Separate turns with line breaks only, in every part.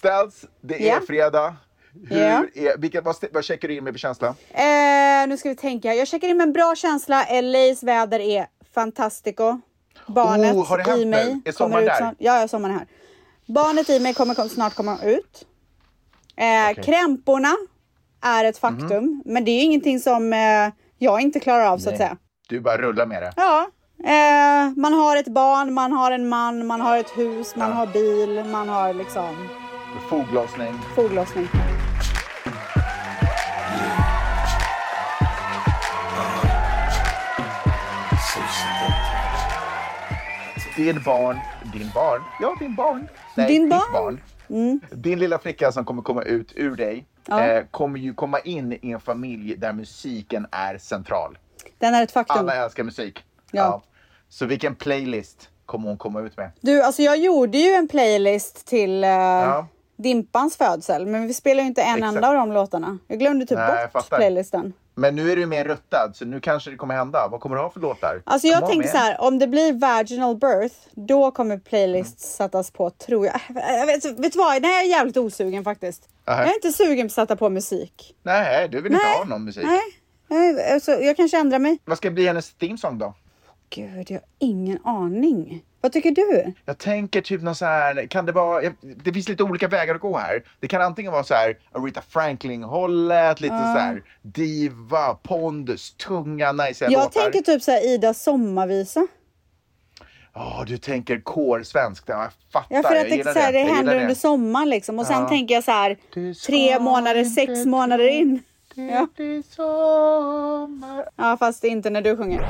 Ställs, det är
Ja.
fredag. Hur
Ja.
är, vilket, vad, vad checkar du in med för känsla?
Eh, nu ska vi tänka. Jag checkar in med en bra känsla. LAs väder är fantastico. Barnet
Oh, har det hänt
i mig
nu? Är
kommer
sommaren
ut
där?
snart. Ja, ja, sommaren är här. Barnet i mig kommer, kom- snart komma ut. Eh, Krämporna är ett
Mhm.
faktum, men det är ju ingenting som eh, jag inte klarar av så att
Nej.
säga.
Du bara rullar med det.
Ja, eh, man har ett barn, man har en man, man har ett hus, man har bil, man har liksom
Foglossning.
foglossning.
Din barn. Din barn? Ja, din barn. Nej,
Din
ditt
barn. Mm.
Din lilla flicka som kommer komma ut ur dig
Ja.
eh, kommer ju komma in i en familj där musiken är central.
Den är ett faktum.
Alla älskar musik.
Ja.
Så vilken playlist kommer hon komma ut med?
Du, alltså jag gjorde ju en playlist till eh,
Ja.
Dimpans födsel, men vi spelar ju inte en
Exakt.
enda av de låtarna. Jag glömde typ
Nej, jag
bort
fattar.
playlisten.
Men nu är du mer ruttad, så nu kanske det kommer hända. Vad kommer du ha för låtar?
Alltså jag
Kom av
tänkte
med.
så här, om det blir vaginal birth, då kommer playlist
Mm.
sättas på tror jag. jag vet, vet du vad, nej jag är jävligt osugen faktiskt.
Aha.
Jag är inte sugen på att sätta på musik.
Nej, du vill inte ha någon musik.
Nej, nej alltså, jag kanske ändrar mig.
Vad ska bli hennes themesång då?
Gud, jag har ingen aning. Vad tycker du?
Jag tänker typ någon så här, kan det vara, jag- det finns lite olika vägar att gå här. Det kan antingen vara så här Aretha Franklin-hållet, lite så här diva, pondus, tunga, najsiga
Jag
låtar.
tänker typ så här Ida sommarvisa.
Ja, du tänker kårsvenskt. Ja, jag fattar.
Ja, för
jag
att det,
gillar
så här, det
Jag gillar
händer under sommaren liksom. Och sen
Ja.
tänker jag så här,
Du ska
tre månader, sex
inte
månader
tro
in. Ja.
Det blir sommar.
ja, fast det är inte när du sjunger.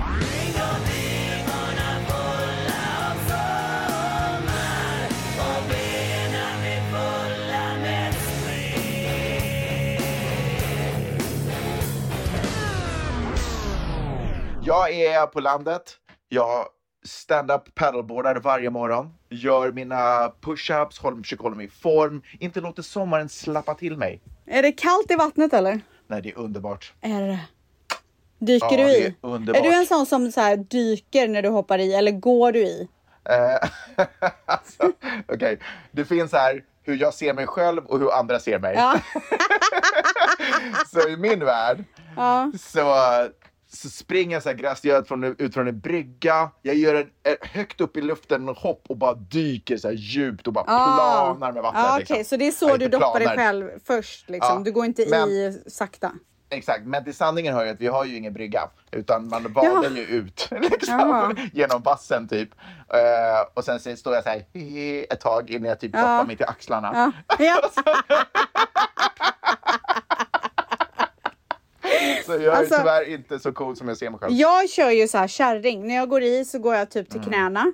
Jag är på landet. Jag stand-up paddleboardar varje morgon. Gör mina push-ups, håller- försöker hålla mig i form. Inte låter sommaren slappa till mig.
Är det kallt i vattnet eller?
Nej, det är underbart.
Är det Dyker
Ja,
du
det
i?
är underbart.
du en sån som så här, dyker när du hoppar i eller går du i?
Eh, alltså, Okej, det finns här hur jag ser mig själv och hur andra ser mig.
Ja.
Så i min värld
ja.
så, så springer jag så här graciöst från, ut från en brygga. Jag gör en, en högt upp i luften hopp och bara dyker så här djupt och bara
Ah.
planar med vattnet.
Ja, Okej,
liksom.
så det är så
Ja,
du
inte
doppar dig
planar.
själv först liksom.
Ja,
Du går inte i sakta.
Exakt, men till sanningen hör ju att vi har ju ingen brygga. Utan man vadar
Jaha.
ju ut liksom,
Jaha.
genom vassen typ. Eh, och sen så står jag så här "Hihi", ett tag innan jag typ
Ja.
doppar mig till axlarna.
Ja. ja.
Så jag är
Alltså-
tyvärr inte så cool som jag ser mig själv.
Jag kör ju så här kärring. När jag går i så går jag typ till knäna.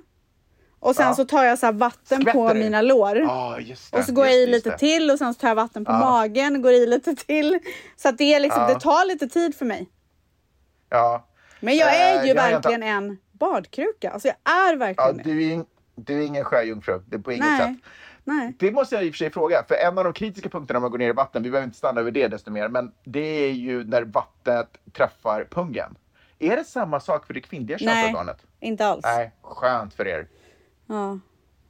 Och sen
Mm. Ja.
så tar jag så här vatten på
Skvätter du?
mina lår.
Ah, just det,
Och så går
just
jag i
det, just
lite
det.
till och sen så tar jag vatten på magen, går i lite till. Så att det, är liksom,
Ja.
det tar lite tid för mig.
Ja.
Men jag är
Eh,
ju
jag har
verkligen en badkruka. Alltså jag är
Ja,
verkligen det.
du, är, ing- du är ingen sjöjungfru, det är på inget
Nej.
sätt.
Nej.
Det måste jag i och för sig fråga, för en av de kritiska punkterna när man går ner i vatten, vi behöver inte stanna över det desto mer, men det är ju när vattnet träffar pungen. Är det samma sak för det kvinnliga
Nej,
könsorganet?
inte alls.
Nej, skönt för er.
Ja.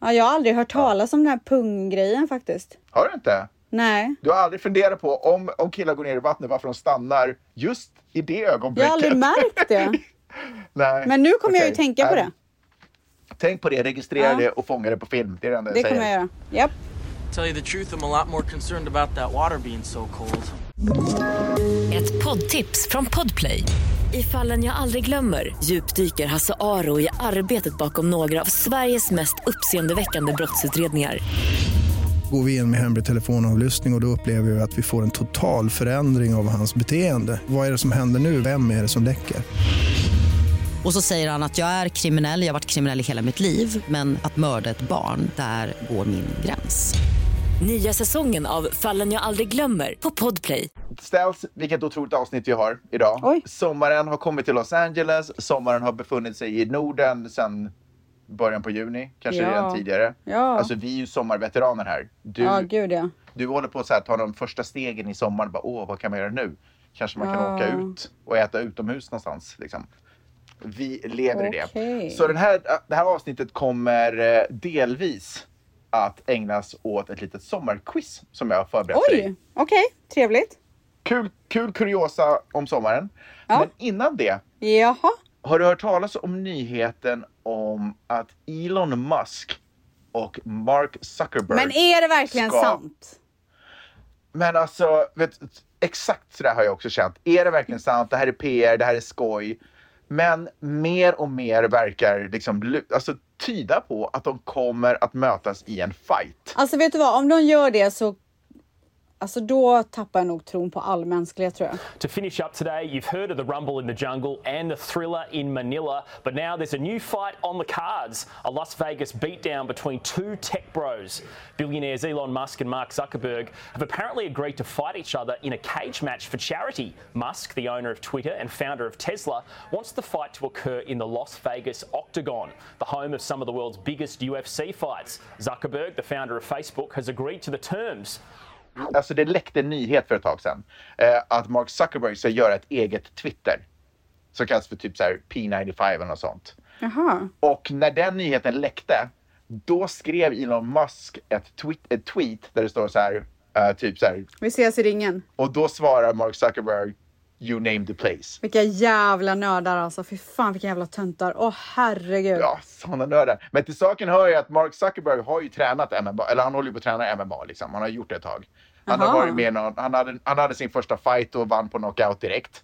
Ja, jag har aldrig hört talas om den här punggrejen faktiskt.
Har du inte?
Nej.
Du har aldrig funderat på om, om killar går ner i vattnet, varför de stannar just i det
Jag
ögonblicket?
har aldrig märkt det.
Nej.
Men nu kommer jag
Okej.
ju
Äh,
tänka på
Nej.
det.
Tänk på det, registrera
Ja.
det och fånga det på film. Det är det enda jag
Det
säger.
kommer jag göra. Japp.
Tell you the truth, I'm a lot more concerned about that water being so cold.
Ett poddtips från Podplay. I fallen jag aldrig glömmer djupdyker Hasse Aro i arbetet bakom några av Sveriges mest uppseendeväckande brottsutredningar.
Går vi in med hemlig telefonavlyssning och, och då upplever vi att vi får en total förändring av hans beteende. Vad är det som händer nu? Vem är det som läcker?
Och så säger han att jag är kriminell, jag har varit kriminell i hela mitt liv men att mörda ett barn, där går min gräns.
Nya säsongen av Fallen jag aldrig glömmer på Podplay.
Ställs, vilket otroligt avsnitt vi har idag.
Oj.
Sommaren har kommit till Los Angeles, sommaren har befunnit sig i Norden sedan början på juni, kanske
Ja.
redan tidigare.
Ja.
Alltså vi är ju sommarveteraner här. Du,
Ja, gud ja.
du håller på att så här, ta de första stegen i sommar, bara, åh vad kan man göra nu? Kanske man kan
Ja.
åka ut och äta utomhus någonstans. Liksom. Vi lever i
Okej.
äh, det. Så den här, det här avsnittet kommer eh, delvis att ägnas åt ett litet sommarquiz som jag har förberett för dig.
Oj, okej, trevligt.
Kul, kul kuriosa om sommaren.
Ja.
Men innan det,
Jaha,
har du hört talas om nyheten om att Elon Musk och Mark Zuckerberg...
men är det verkligen
Ska-
sant?
Men alltså, vet, exakt så där har jag också känt. Är det verkligen sant? Det här är PR, det här är skoj. Men mer och mer verkar liksom, lu- alltså, tyda på att de kommer att mötas i en fight.
Alltså vet du vad, om de gör det så Alltså då tappar jag nog tron på all mänsklighet tror jag.
To finish up today, you've heard of the rumble in the jungle and the thriller in Manila, but now there's a new fight on the cards a Las Vegas beatdown between two tech bros. Billionaires Elon Musk and Mark Zuckerberg have apparently agreed to fight each other in a cage match for charity. Musk, the owner of Twitter and founder of Tesla, wants the fight to occur in the Las Vegas Octagon, the home of some of the world's biggest UFC fights. Zuckerberg, the founder of Facebook, has agreed to the terms.
Alltså det läckte en nyhet för ett tag sedan. Eh, att Mark Zuckerberg ska göra ett eget Twitter. Som kallas för typ så här P95 eller något sånt.
Jaha.
Och när den nyheten läckte, då skrev Elon Musk ett tweet, ett tweet där det står så här, eh, typ så här,
Vi ses i ringen.
Och då svarar Mark Zuckerberg You name the place.
Vilka jävla nördar alltså. Fy fan vilka jävla töntar. Åh herregud.
Ja, sådana nördar. Men till saken hör ju att Mark Zuckerberg har ju tränat MMA, eller han håller ju på att träna MMA liksom. Han har gjort det ett tag. Han, har
Jaha.
varit med i någon, han, hade, han hade sin första fight och vann på knockout direkt.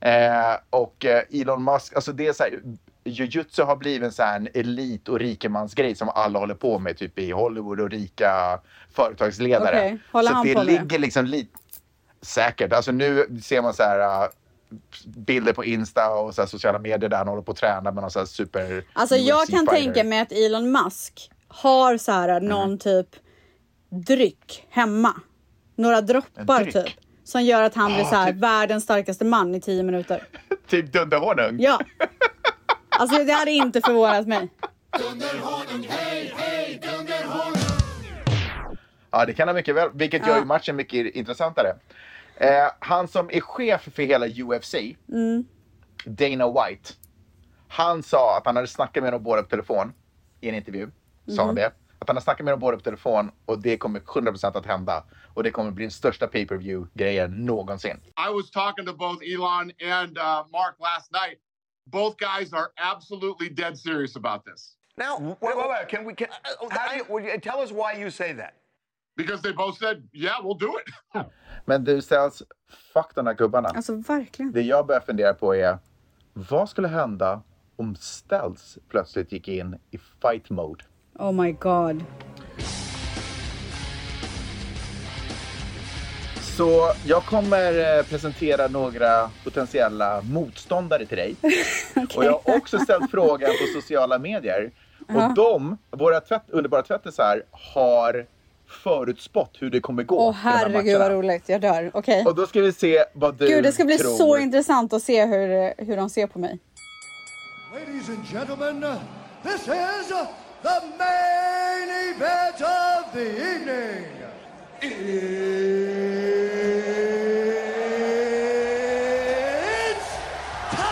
Eh, och eh, Elon Musk, alltså det är så här, jujutsu har blivit en så här en elit och rikemansgrej som alla håller på med typ i Hollywood och rika företagsledare.
Okej, håller
så
han
det
på med?
ligger liksom lite... Säkert. Alltså nu ser man så här äh, bilder på Insta och så här sociala medier där han håller på att träna med någon så här super
Alltså jag kan
UFC-fighter.
tänka mig att Elon Musk har så här
Mm.
någon typ dryck hemma. Några droppar
En dryck?
typ. Som gör att han blir
Ah,
så här
typ.
världens starkaste man i tio minuter.
Typ dunderhonung.
Ja. Alltså det hade inte förvånat mig.
Ja, det kan han mycket väl, vilket gör ju
Ja.
matchen mycket intressantare. Eh, han som är chef för hela UFC,
Mm.
Dana White, han sa att han hade snackat med dem båda på telefon i en intervju. Sa
Mm-hmm.
han det? Att han har snackat med dem båda på telefon och det kommer 100% att hända. Och det kommer bli den största pay per view grejen någonsin.
I was talking to both Elon and uh, Mark last night. Both guys are absolutely dead serious about this
Now, wait, wait, wait. Can we? Can, how do you, would you, tell us why you say that.
because they both said, "Yeah, we'll do it."
Men du Sells, fuck de här gubbarna.
Alltså verkligen.
Det jag börjar fundera på är, vad skulle hända om Stells plötsligt gick in i fight mode?
Oh my god.
Så jag kommer eh, presentera några potentiella motståndare till dig. Och jag har också ställt frågan på sociala medier. Och de, våra tvätt, underbara tvättisar, har förutspått hur det kommer gå i
Åh
de här
herregud vad
matcherna.
roligt. Jag dör. Okej.
Och då ska vi se vad du
Gud det ska bli
tror.
så intressant att se hur, eh, hur de ser på mig.
Ladies and gentlemen, this is the main event of the evening. It's time!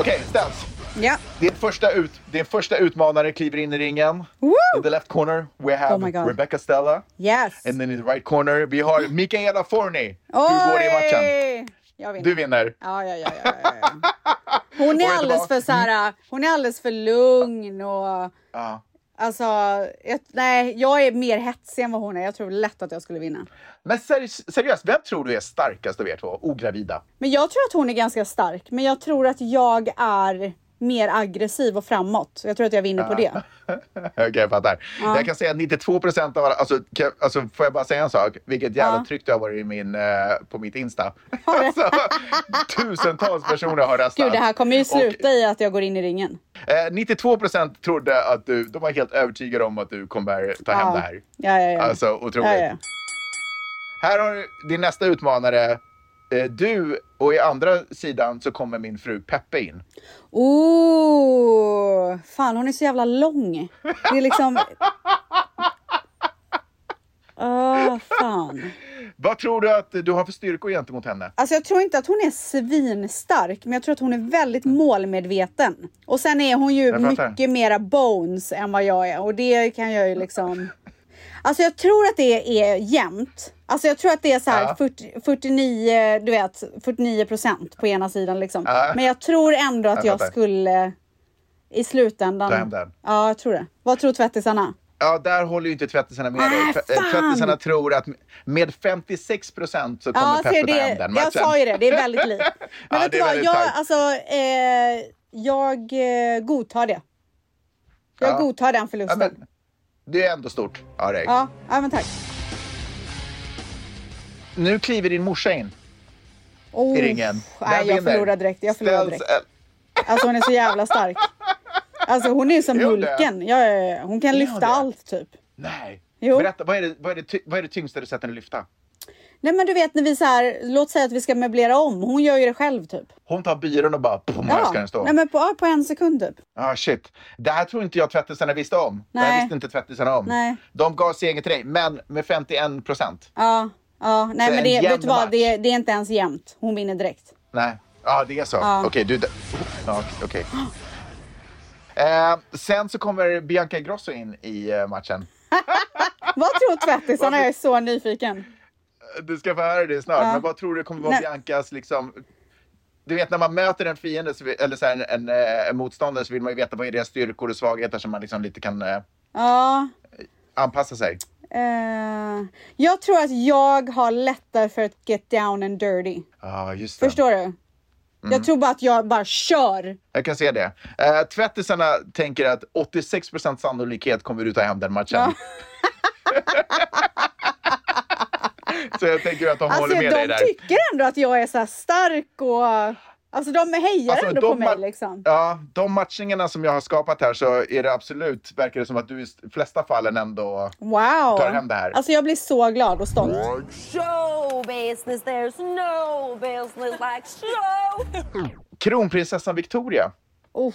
Okej, Stens.
Ja.
Din första, ut, din första utmanare kliver in i ringen.
Woo!
In the left corner we have
Oh my God.
Rebecca Stella.
Yes.
And then in the right corner vi har Mikaela Forni. Hur går det i matchen?
Oj! Jag vinner.
Du vinner.
Ja, ja, ja, ja, ja, ja. Hon är
jag
alldeles
tillbaka?
för så här, hon är alldeles för lugn och
Mm. Ja.
alltså, jag, nej, jag är mer hetsig än vad hon är. Jag tror lätt att jag skulle vinna.
Men seri- seriöst, vem tror du är starkast av er två? Ogravida.
Men jag tror att hon är ganska stark, men jag tror att jag är mer aggressiv och framåt. Jag tror att jag vinner på det.
Okej, jag fattar. Jag kan säga att 92 procent av alla... Alltså, kan, alltså, får jag bara säga en sak? Vilket jävla tryck det har varit i min, eh, på mitt Insta. alltså, tusentals personer har röstat.
Gud, det här kommer ju sluta i att jag går in i ringen.
Och, eh, 92 procent trodde att du... De var helt övertygade om att du kommer ta hem
Ja.
det här.
Ja, ja, ja.
Alltså, otroligt.
ja, ja.
Här har du din nästa utmanare. Eh, Du och i andra sidan så kommer min fru Peppe in.
Oh, fan hon är så jävla lång. Det är liksom... Åh, fan.
Vad tror du att du har för styrkor gentemot henne?
Alltså jag tror inte att hon är svinstark, men jag tror att hon är väldigt målmedveten. Och sen är hon ju
Mm. Jag fattar.
mycket mera bones än vad jag är och det kan jag ju liksom... Alltså jag tror att det är jämnt. Alltså jag tror att det är så här
Ja.
40, 49, du vet, 49 procent på ena sidan liksom.
Ja.
Men jag tror ändå att
Jag
jag,
fattar.
skulle i slutändan...
Ta hem den.
Ja, jag tror det. Vad tror tvättisarna?
Ja, där håller ju inte tvättisarna med dig.
Ah,
Tv- eh,
fan!
Tvättisarna tror att med 56 procent så kommer
Ja,
Peppe
ser
ta
det,
hem den
jag sa ju det, det är väldigt likt. Men
Ja,
vet
det
du
är
vad,
väldigt
jag,
tajt.
alltså, eh, jag eh, godtar det. Jag
Ja.
godtar den
Ja,
förlusten. Ja,
men, det är ändå stort. Ja, det är.
ja, men tack.
Nu kliver din morsa in
Oh,
i ringen. Vem
nej, jag
vinner?
förlorar direkt. Jag förlorar
Ställs eh,
direkt.
el-
Alltså hon är så jävla stark. Alltså hon är ju som
Är hon det?
Hulken. Ja, ja, ja. Hon kan
Är
lyfta
hon det?
allt typ.
Nej.
Jo.
Berätta, vad är, det, vad, är det, ty- vad är det tyngsta du sett henne lyfta?
Nej men du vet när vi så här, låt säga att vi ska möblera om. Hon gör ju det själv typ.
Hon tar byrån och bara... Pum, här ska den stå.
Nej men på, ja, på en sekund typ.
Ah, shit. Det här tror inte jag tvättisarna visste om. Det
Nej.
här visste inte tvättisarna om.
Nej.
De gav segern till dig, men med 51 procent.
Ja, ja. Nej
Så
men
en
det, vet
jämn
du vad,
match.
det, det är inte ens jämnt. Hon vinner direkt.
Nej. Ja, det är så.
Ja.
Okej, du... Ja, okej. Eh, sen så kommer Bianca Ingrosso in i eh, matchen.
Vad tror tvättisarna? Jag är så nyfiken.
Du ska få höra det snart,
Ja.
men vad tror du kommer vara
Nej.
Biancas liksom... Du vet när man möter en fiende, så vi- eller så här, en, en, eh, en motståndare, så vill man ju veta vad är deras styrkor och svagheter som man liksom lite kan eh,
Ja.
anpassa sig.
eh, jag tror att jag har lättare för att get down and dirty.
Ja, Ah, Mm. just det.
Förstår du? Jag tror bara att jag bara kör.
Jag kan se det. Eh, tvättisarna tänker att 86 sannolikhet kommer du ta hem den matchen. så jag tänker att de
Alltså
håller med dig
de
där.
tycker ändå att jag är så här stark och... Alltså de hejar
Alltså,
ändå
de
på mig
ma-
liksom.
Ja, de matchningarna som jag har skapat här så är det absolut, verkar det som att du i de flesta fallen ändå...
Wow!
tar hem det här.
Alltså jag blir så glad och stolt.
Show business, there's no business like show.
Kronprinsessan Victoria,
Uff.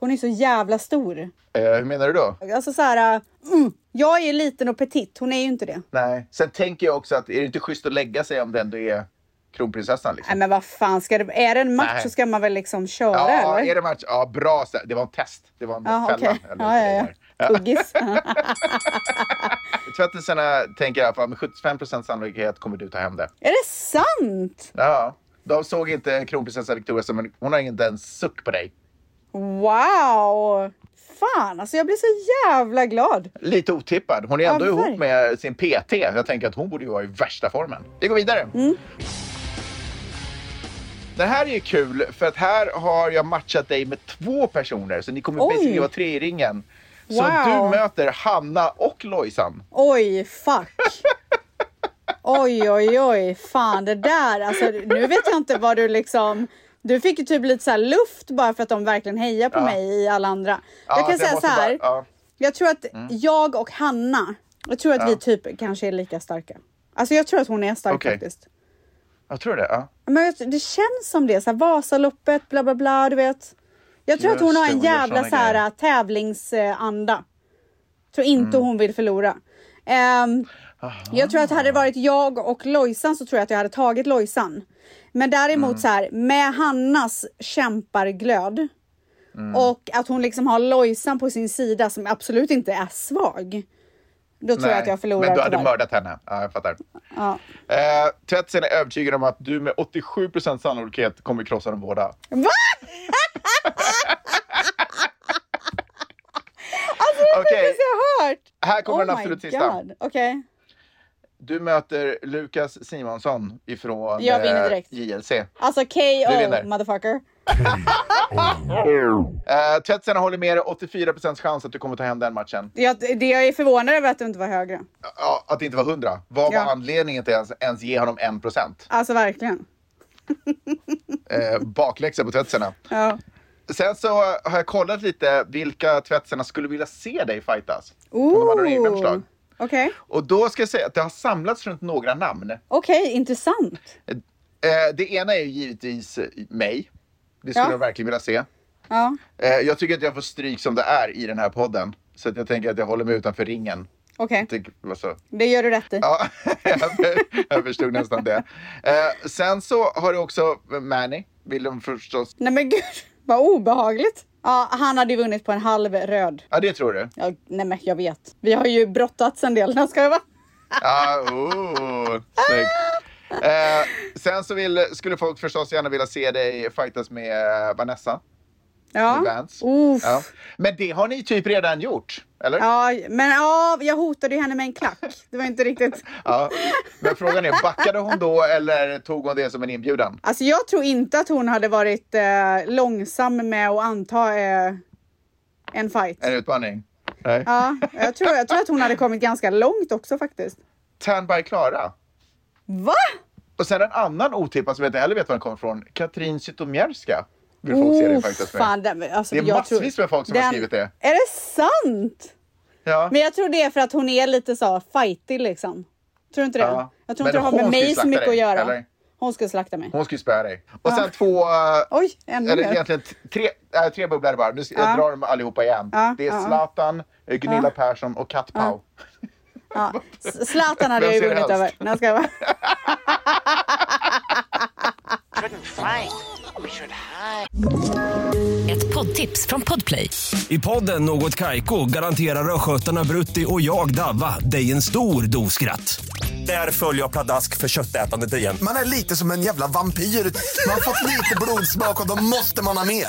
Hon är så jävla stor.
eh, hur menar du då?
Alltså så här, äh, mm. Jag är liten och petit, hon är ju inte det.
Nej. Sen tänker jag också att är det inte schysst att lägga sig om det ändå är kronprinsessan? Liksom?
Nej men vad fan, ska det, är det en match
Nej.
så ska man väl liksom köra
Ja,
eller?
är det match? Ja, bra. så- Det var en test. Det var en
Ja,
fälla.
okej.
eller
Ja,
vad
ja,
säger.
ja. Tuggis.
Tvättisarna tänker i alla fall med 75 sannolikhet kommer du ta hem det.
är det sant?
Ja. De såg inte kronprinsessa Victoria som en... Hon har inte en suck på dig.
Wow! Fan, alltså jag blir så jävla glad.
Lite otippad. Hon är ändå
Ja,
ihop
verkligen.
med sin PT. Jag tänker att hon borde ju vara i värsta formen. Vi går vidare.
Mm.
Det här är ju kul för att här har jag matchat dig med två personer. Så ni kommer
Oj.
basically vara tre i ringen. Så
Wow.
du möter Hanna och Lojsan.
Oj, fuck. Oj, oj, oj. Fan, det där. Alltså, nu vet jag inte vad du liksom... Du fick ju typ lite så här luft bara för att de verkligen hejar på mig i alla andra. jag kan
det
säga så
alltså, måste bara-
här.
ja. Mm.
Jag tror att jag och Hanna, jag tror att vi typ kanske är lika starka. Alltså jag tror att hon är stark
Okej.
faktiskt.
Jag tror det. Ja.
Men jag, det känns som det. Så här, Vasaloppet, bla bla bla, du vet. Jag tror att
Just
hon har
det,
en
hon gör
jävla
såna
så här,
grejer. Mm.
tävlingsanda. Tror inte hon vill förlora. Ehm, jag tror att hade det varit jag och Lojsan så tror jag att jag hade tagit Lojsan. Men däremot
Mm.
så här, med Hannas kämparglöd
Mm.
och att hon liksom har Lojsan på sin sida som absolut inte är svag. Då tror jag
Nej,
att jag förlorar.
Men du hade
tyvärr.
mördat henne. Ja, jag fattar.
Ja.
Eh, Tvättisen är övertygad om att du med 87 sannolikhet kommer krossa dem båda.
Va?
Okej,
Det har Alltså, jag hört.
här kommer den
Oh my
absolut sista.
God. Okej.
Du möter Lukas Simonsson ifrån
Jag vinner
eh,
direkt.
JLC. Eh,
Alltså
Du
KO,
vinner.
motherfucker.
Tvättisen Eh, håller med dig, 84 chans att du kommer ta hem den matchen.
Jag, det jag är förvånad över att du inte var högre.
Ja, att det inte var 100. Vad var
Ja.
anledningen till att ens, ens ge honom 1 procent?
Alltså verkligen.
Eh, bakläxa på tvättisarna.
Ja.
Sen så har jag kollat lite vilka tvättisarna skulle vilja se dig fightas. Om de hade några egna förslag.
Okej,
Och då ska jag säga att det har samlats runt några namn.
Okej, intressant.
Eh, det ena är ju givetvis eh, mig. Det skulle
Ja.
jag verkligen vilja se.
Ja.
Eh, jag tycker att jag får stryk som det är i den här podden. Så att jag tänker att jag håller mig utanför ringen.
Okej,
Det var så.
det gör du rätt i.
Ja, jag förstod nästan det. Eh, sen så har du också Manny, vill de förstås.
Nej men gud, vad obehagligt. Ja, han hade ju vunnit på en halv röd.
Ja, det tror du?
Ja, nej men jag vet. Vi har ju brottats en del. Ska jag vara?
Ja, Ah, oh, snyggt. Eh, sen så vill, skulle folk förstås gärna vilja se dig fightas med eh, Vanessa.
Ja.
Vance.
Uff.
Ja. Men det har ni typ redan gjort, eller?
Ja, men ja, jag hotade ju henne med en klack. Det var inte riktigt.
Ja. Men frågan är, backade hon då eller tog hon det som en inbjudan?
Alltså jag tror inte att hon hade varit eh, långsam med att anta eh, en fight.
En utmaning? Nej.
Ja, jag tror, jag tror att hon hade kommit ganska långt också faktiskt.
Tan by Klara.
Va?
Och sen en annan otippad som jag inte heller vet var den kommer ifrån. Katrin Zytomierska. Vill folk se det faktiskt med.
Oh, fan, den, alltså,
Det är
jag tror-
massvis med folk som har skrivit det.
Är det sant?
Ja.
Men jag tror det är för att hon är lite så fightig liksom. Tror du inte det?
Ja.
Jag tror
Men
inte det har med
hon ska ju
mig så
slakta
mycket
dig,
att göra.
eller?
Hon skulle slakta mig.
Hon ska ju spöa dig. Och sen
Ja.
två, eh,
Oj, ännu
eller
mer.
egentligen t- tre, äh, tre bubblor bara. Nu ska,
Ja.
Jag drar dem allihopa igen.
Ja,
Det är
ja, ja.
Zlatan, eh, Gunilla Persson och Kat Pau.
Ja. S- Zlatan hade jag ju
Vem ser
vunnit
helst?
över. Nej, ska jag bara...
Ett poddtips från Podplay.
I podden Något Kaiko garanterar östgötarna Brutti och jag, Davva, dig en stor dos skratt. Där följer jag pladask för köttätandet igen.
Man är lite som en jävla vampyr. Man har fått lite blodsmak och då måste man ha mer.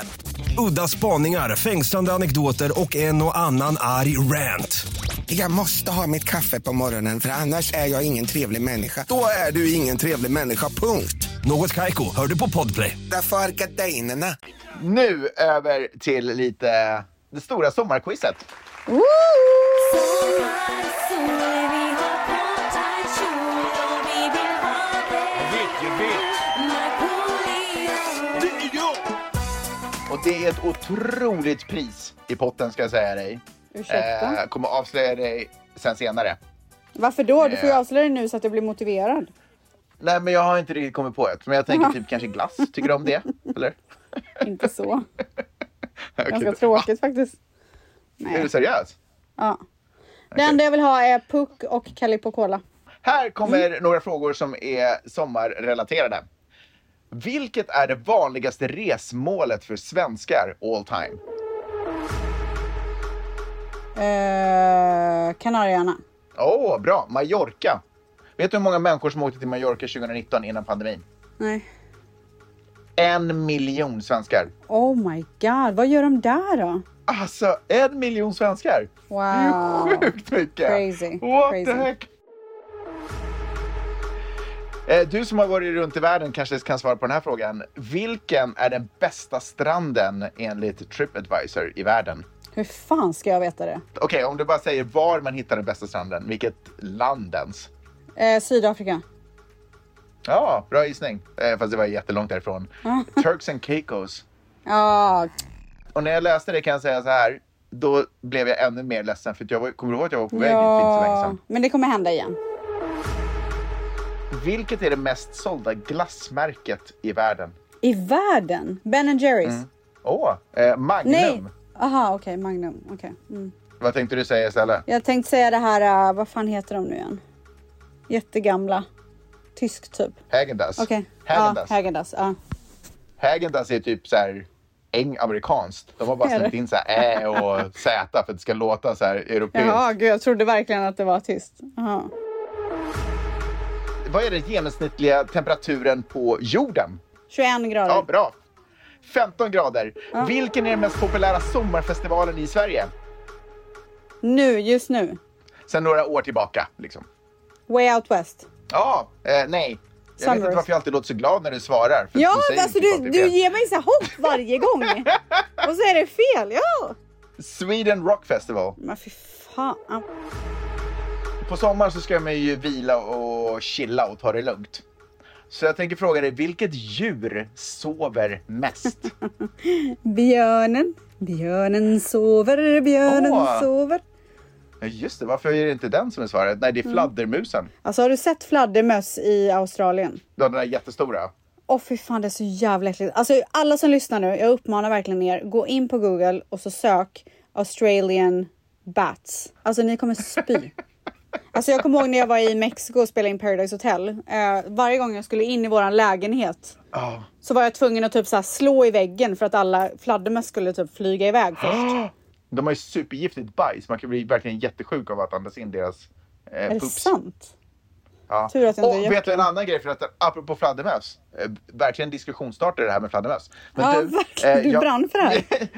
Udda spaningar, fängslande anekdoter och en och annan arg rant.
Jag måste ha mitt kaffe på morgonen för annars är jag ingen trevlig människa. Då är du ingen trevlig människa, punkt.
Något Kaiko, hör du på Podplay.
Därför är gardinerna.
Nu över till lite det stora sommarquizet.
Woo!
Och det är ett otroligt pris i potten ska jag säga dig.
Ursäkta?
Eh, kommer avslöja dig sen senare.
Varför då? Du får ju
eh.
avslöja det nu så att jag blir motiverad.
Nej men jag har inte riktigt kommit på ett. Men jag tänker typ kanske glass. Tycker du om det? Eller?
Inte så. Ganska
Okej.
tråkigt faktiskt.
Är du seriös?
Ja. Det enda jag vill ha är Puck och Calippo Cola.
Här kommer
Mm.
några frågor som är sommarrelaterade. Vilket är det vanligaste resmålet för svenskar all time?
Eh, Kanarieöarna.
Åh, bra! Mallorca. Vet du hur många människor som åkte till Mallorca 2019 innan pandemin?
Nej.
En miljon svenskar.
Oh my god, vad gör de där då?
Alltså, en miljon svenskar! Det är
Wow.
ju sjukt mycket!
Crazy,
What
crazy.
the heck? Eh, Du som har varit runt i världen kanske kan svara på den här frågan. Vilken är den bästa stranden enligt Tripadvisor i världen?
Hur fan ska jag veta det?
Okej, om du bara säger var man hittar den bästa stranden, vilket land ens?
Eh, Sydafrika.
Ja, bra gissning. Eh, fast det var jättelångt därifrån.
Mm.
Turks and Caicos.
Ja,
Och när jag läste det kan jag säga så här, då blev jag ännu mer ledsen för att jag var, kommer du ihåg att jag var på väg dit för inte så länge
ja.
sedan?
Men det kommer hända igen.
Vilket är det mest sålda glassmärket i världen?
I världen? Ben Jerrys?
Mm, Åh, eh, Magnum.
Nej. Aha, okej. Magnum. Okej. Mm.
Vad tänkte du säga istället?
Jag tänkte säga det här, eh, vad fan heter de nu igen? Jättegamla. Tysk typ.
Hägendas.
Okej. Ja,
Hägendas.
Häagen-Dazs. Ja.
Hägendas är typ så här eng amerikanskt. De har bara
Är det?
slängt in så här ä och z för att det ska låta så här europeiskt.
Jaha, gud, jag trodde verkligen att det var tyst. Jaha.
Vad är den genomsnittliga temperaturen på jorden?
21 grader.
Ja, bra. 15 grader. Vilken är den mest populära sommarfestivalen i Sverige?
Nu, just nu.
Sen några år tillbaka. Liksom.
Way Out West.
Ja, eh, nej. Jag vet
Sunburst.
inte varför jag alltid låter så glad när du svarar. För
Ja,
du
du
säger
alltså
inte
du,
alltid
du
fel.
ger mig så här hopp varje gång. Och så är det fel. Ja.
Sweden Rock Festival.
Men fy fan.
På sommaren så ska man ju vila och chilla och ta det lugnt. Så jag tänker fråga dig, vilket djur sover mest?
Björnen. Björnen sover, björnen
Åh.
sover.
Ja, Just det, varför är det inte den som är svaret? Nej, det är fladdermusen.
Alltså har du sett fladdermöss i Australien?
Den där jättestora.
Åh fy fan det är så jävla äckligt. Alltså alla som lyssnar nu, jag uppmanar verkligen er. Gå in på Google och så sök Australian bats. Alltså ni kommer spy. Alltså jag kommer ihåg när jag var i Mexiko och spelade in Paradise Hotel. Eh, varje gång jag skulle in i våran lägenhet
Ja.
så var jag tvungen att typ så här slå i väggen för att alla fladdermöss skulle typ flyga iväg först.
De har ju supergiftigt bajs. Man kan bli verkligen jättesjuk av att andas in deras eh,
Är det
pups.
sant?
Ja.
Tur att jag inte
och
gjort
vet du en annan grej förresten? Apropå fladdermöss. Eh, verkligen diskussionsstartare det här med fladdermöss.
ja, verkligen. Du
eh, jag,
brann för det här.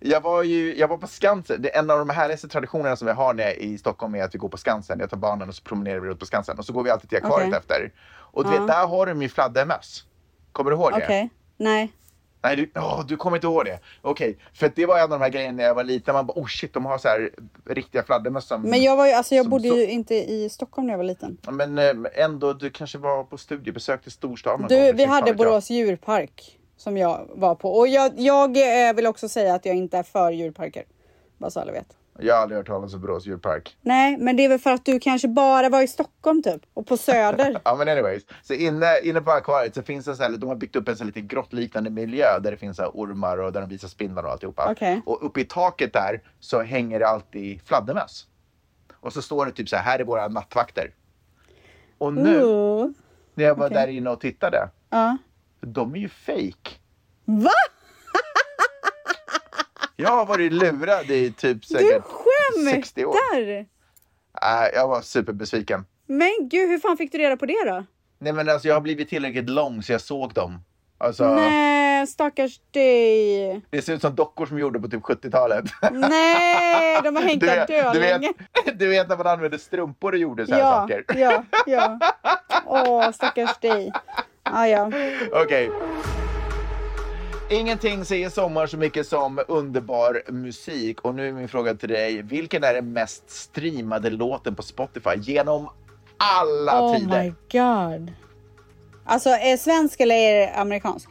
jag var ju jag var på Skansen. Det är en av de härligaste traditionerna som vi har när jag är i Stockholm är att vi går på Skansen. Jag tar barnen och så promenerar vi runt på Skansen. Och så går vi alltid till akvariet
Okej.
efter. Och du
Ja.
vet, där har de ju fladdermöss. Kommer du ihåg
Okej.
det?
Nej.
Nej, du, åh, du kommer inte ihåg det. Okej, för att det var en av de här grejerna när jag var liten. Man bara, oh shit, de har så här riktiga fladdermöss som...
Men jag, var ju, alltså jag
som
bodde
så-
ju inte i Stockholm när jag var liten.
Men eh, ändå, du kanske var på studiebesök till storstan någon gång,
Du,
för
vi
shit, fan
hade
vet jag.
Borås djurpark som jag var på. Och jag, jag eh, vill också säga att jag inte är för djurparker. Bara så alla vet.
Jag har aldrig hört talas om Borås djurpark.
Nej, men det är väl för att du kanske bara var i Stockholm typ. Och på Söder.
Ja men anyways, så inne, inne på akvariet så finns det så här, de har byggt upp en så här lite grottliknande miljö där det finns så här ormar och där de visar spindlar och alltihopa.
Okej.
Och uppe i taket där så hänger det alltid fladdermöss. Och så står det typ så här, här är våra nattvakter. Och nu
Ooh.
när jag var
okej.
där inne och tittade,
Ja.
de är ju fake.
Va?
Jag har varit lurad i typ
Du
säkert 60 år.
skämtar!
Äh, jag var superbesviken.
Men gud, hur fan fick du reda på det då?
Nej men alltså jag har blivit tillräckligt lång så jag såg dem. Alltså,
Nej, stackars dig.
det ser ut som dockor som gjorde på typ 70-talet.
Nej, de har hängt
Du
där
vet- du vet-
dölänge.
Du vet när man använde strumpor och gjorde så här
Ja,
saker.
ja, ja. Åh, stackars dig. Ah, ja.
Okej. Ingenting säger sommar så mycket som underbar musik. Och nu är min fråga till dig. Vilken är den mest streamade låten på Spotify genom alla
Oh
tider?
my god. Alltså, är det svensk eller är det amerikansk?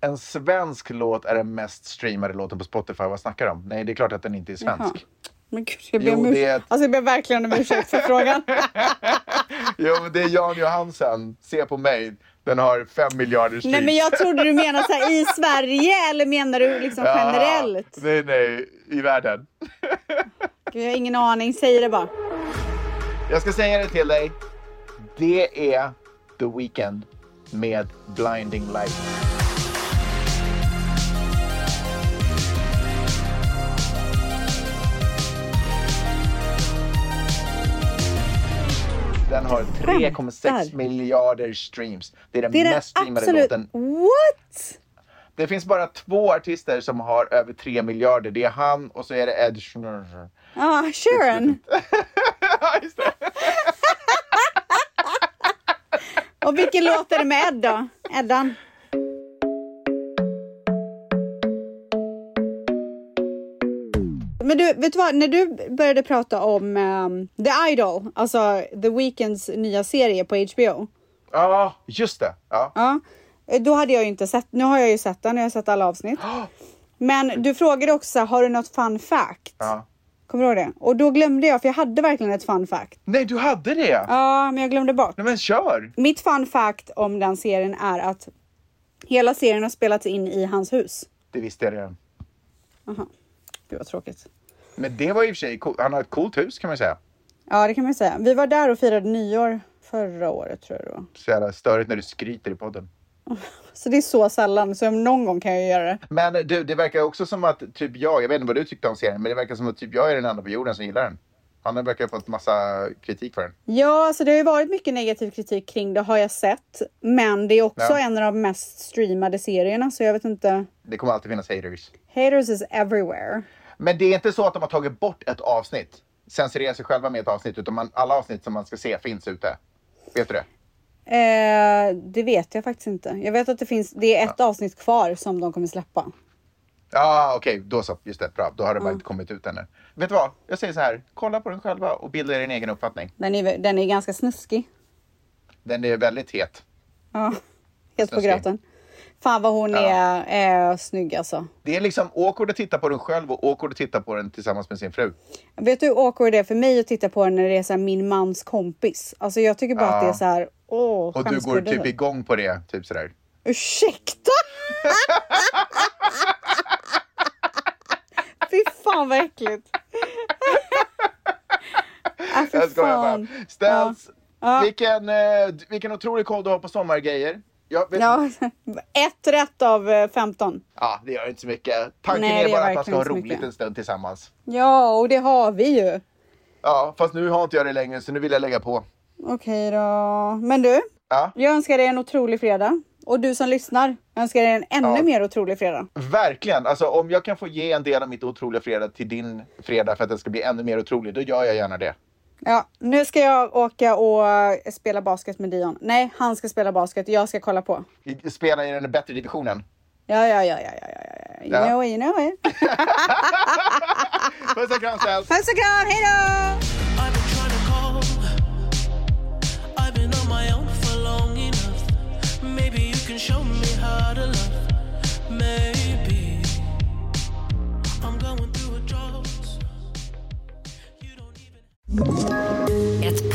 En svensk låt är den mest streamade låten på Spotify. Vad snackar du om? Nej, det är klart att den inte är svensk.
Men gud, jag ber,
Jo,
om
det är
ur...
ett-
alltså, jag ber verkligen om ursäkt för frågan.
Jo, men det är Jan Johansen. Se på mig. Den har fem miljarder streams.
Nej, men jag trodde du menade så här, i Sverige eller menar du liksom
Ja,
generellt?
nej, nej. I världen.
Gud, jag har ingen aning, säg det bara.
Jag ska säga det till dig. Det är The Weeknd med Blinding Lights. Den har 3,6
Skämtar.
miljarder streams. Det är den
Det är den
mest streamade
absolut...
låten.
What?
Det finns bara två artister som har över 3 miljarder. Det är han och så är det Ed Sheeran.
Ah, Sharon. Och vilken låt är det med Ed då? Eddan? Men du, vet du vad? När du började prata om ehm, The Idol, alltså The Weeknds nya serie på HBO.
Ja, just det. Ja.
Ja, Eh, då hade jag ju inte sett. Nu har jag ju sett den, jag har sett alla avsnitt. Men du frågade också, har du något fun fact?
Ja.
Kommer du ihåg det? Och då glömde jag, för jag hade verkligen ett fun fact.
Nej, du hade det?
Ja, men jag glömde bort.
Nej, men kör!
Mitt fun fact om den serien är att hela serien har spelats in i hans hus.
Det visste jag redan.
Aha. Gud vad tråkigt.
Men det var i och för sig coolt. Han har ett coolt hus kan man säga.
Ja, det kan man ju säga. Vi var där och firade nyår förra året tror jag det var.
Så jävla störigt när du skryter i podden.
Så det är så sällan, så någon gång kan jag göra det.
Men du, det verkar också som att typ jag, jag vet inte vad du tyckte om serien, men det verkar som att typ jag är den enda på jorden som gillar den. Han verkar ha fått massa kritik för den.
Ja, så det har ju varit mycket negativ kritik kring det har jag sett. Men det är också
Ja.
en av de mest streamade serierna, så jag vet inte.
Det kommer alltid finnas haters.
Haters is everywhere.
Men det är inte så att de har tagit bort ett avsnitt, censurerat sig själva med ett avsnitt, utan man, alla avsnitt som man ska se finns ute. Vet du det?
Eh, det vet jag faktiskt inte. Jag vet att det finns, det är ett avsnitt kvar som de kommer släppa.
Ja, okej, då så. Just det, bra. Då har det bara inte kommit ut ännu. Vet du vad? Jag säger så här, kolla på den själva och bilda er en egen uppfattning.
Den är, den är ganska snuskig.
Den är väldigt het.
Ja, helt på
Snuskig.
gröten. Fan vad hon är eh, snygg alltså.
Det är liksom awkward att titta på den själv och awkward att titta på den tillsammans med sin fru.
Vet du hur awkward det är för mig att titta på henne när det är så här, min mans kompis? Alltså jag tycker bara
Ja.
att det är så här, åh,
Och du går
skämskudde.
typ igång på det, typ sådär.
Ursäkta? Fy fan vad äckligt. Äh, fy
jag skojar bara.
fan.
Ställs,
Ja.
Vilken, eh, vilken otrolig koll du har på sommargrejer. Jag vet, ja.
Ja, ett rätt av eh, 15.
det gör inte så mycket. Tanken
Nej, det
är
gör
bara att man ska ha
verkligen inte så
roligt
mycket.
en stund tillsammans.
Ja, och det har vi ju.
Ja, fast nu har inte jag det längre så nu vill jag lägga på.
Okej då. Men du,
Ja.
jag önskar dig en otrolig fredag. Och du som lyssnar, jag önskar dig en ännu
Ja.
mer otrolig fredag.
Verkligen! Alltså, om jag kan få ge en del av mitt otroliga fredag till din fredag för att den ska bli ännu mer otrolig, då gör jag gärna det.
Ja, nu ska jag åka och eh, spela basket med Dion. Nej, han ska spela basket. Jag ska kolla på.
Spela i den bättre divisionen.
Ja, ja, ja, ja, ja, ja, ja. You
Ja.
know it, you know it.
Puss och kram, Ställs!
Puss och kram, hej då!
I've been trying to call. I've been on my own for long enough. Maybe you can show me how to love. Maybe I'm going through a drought.
Ett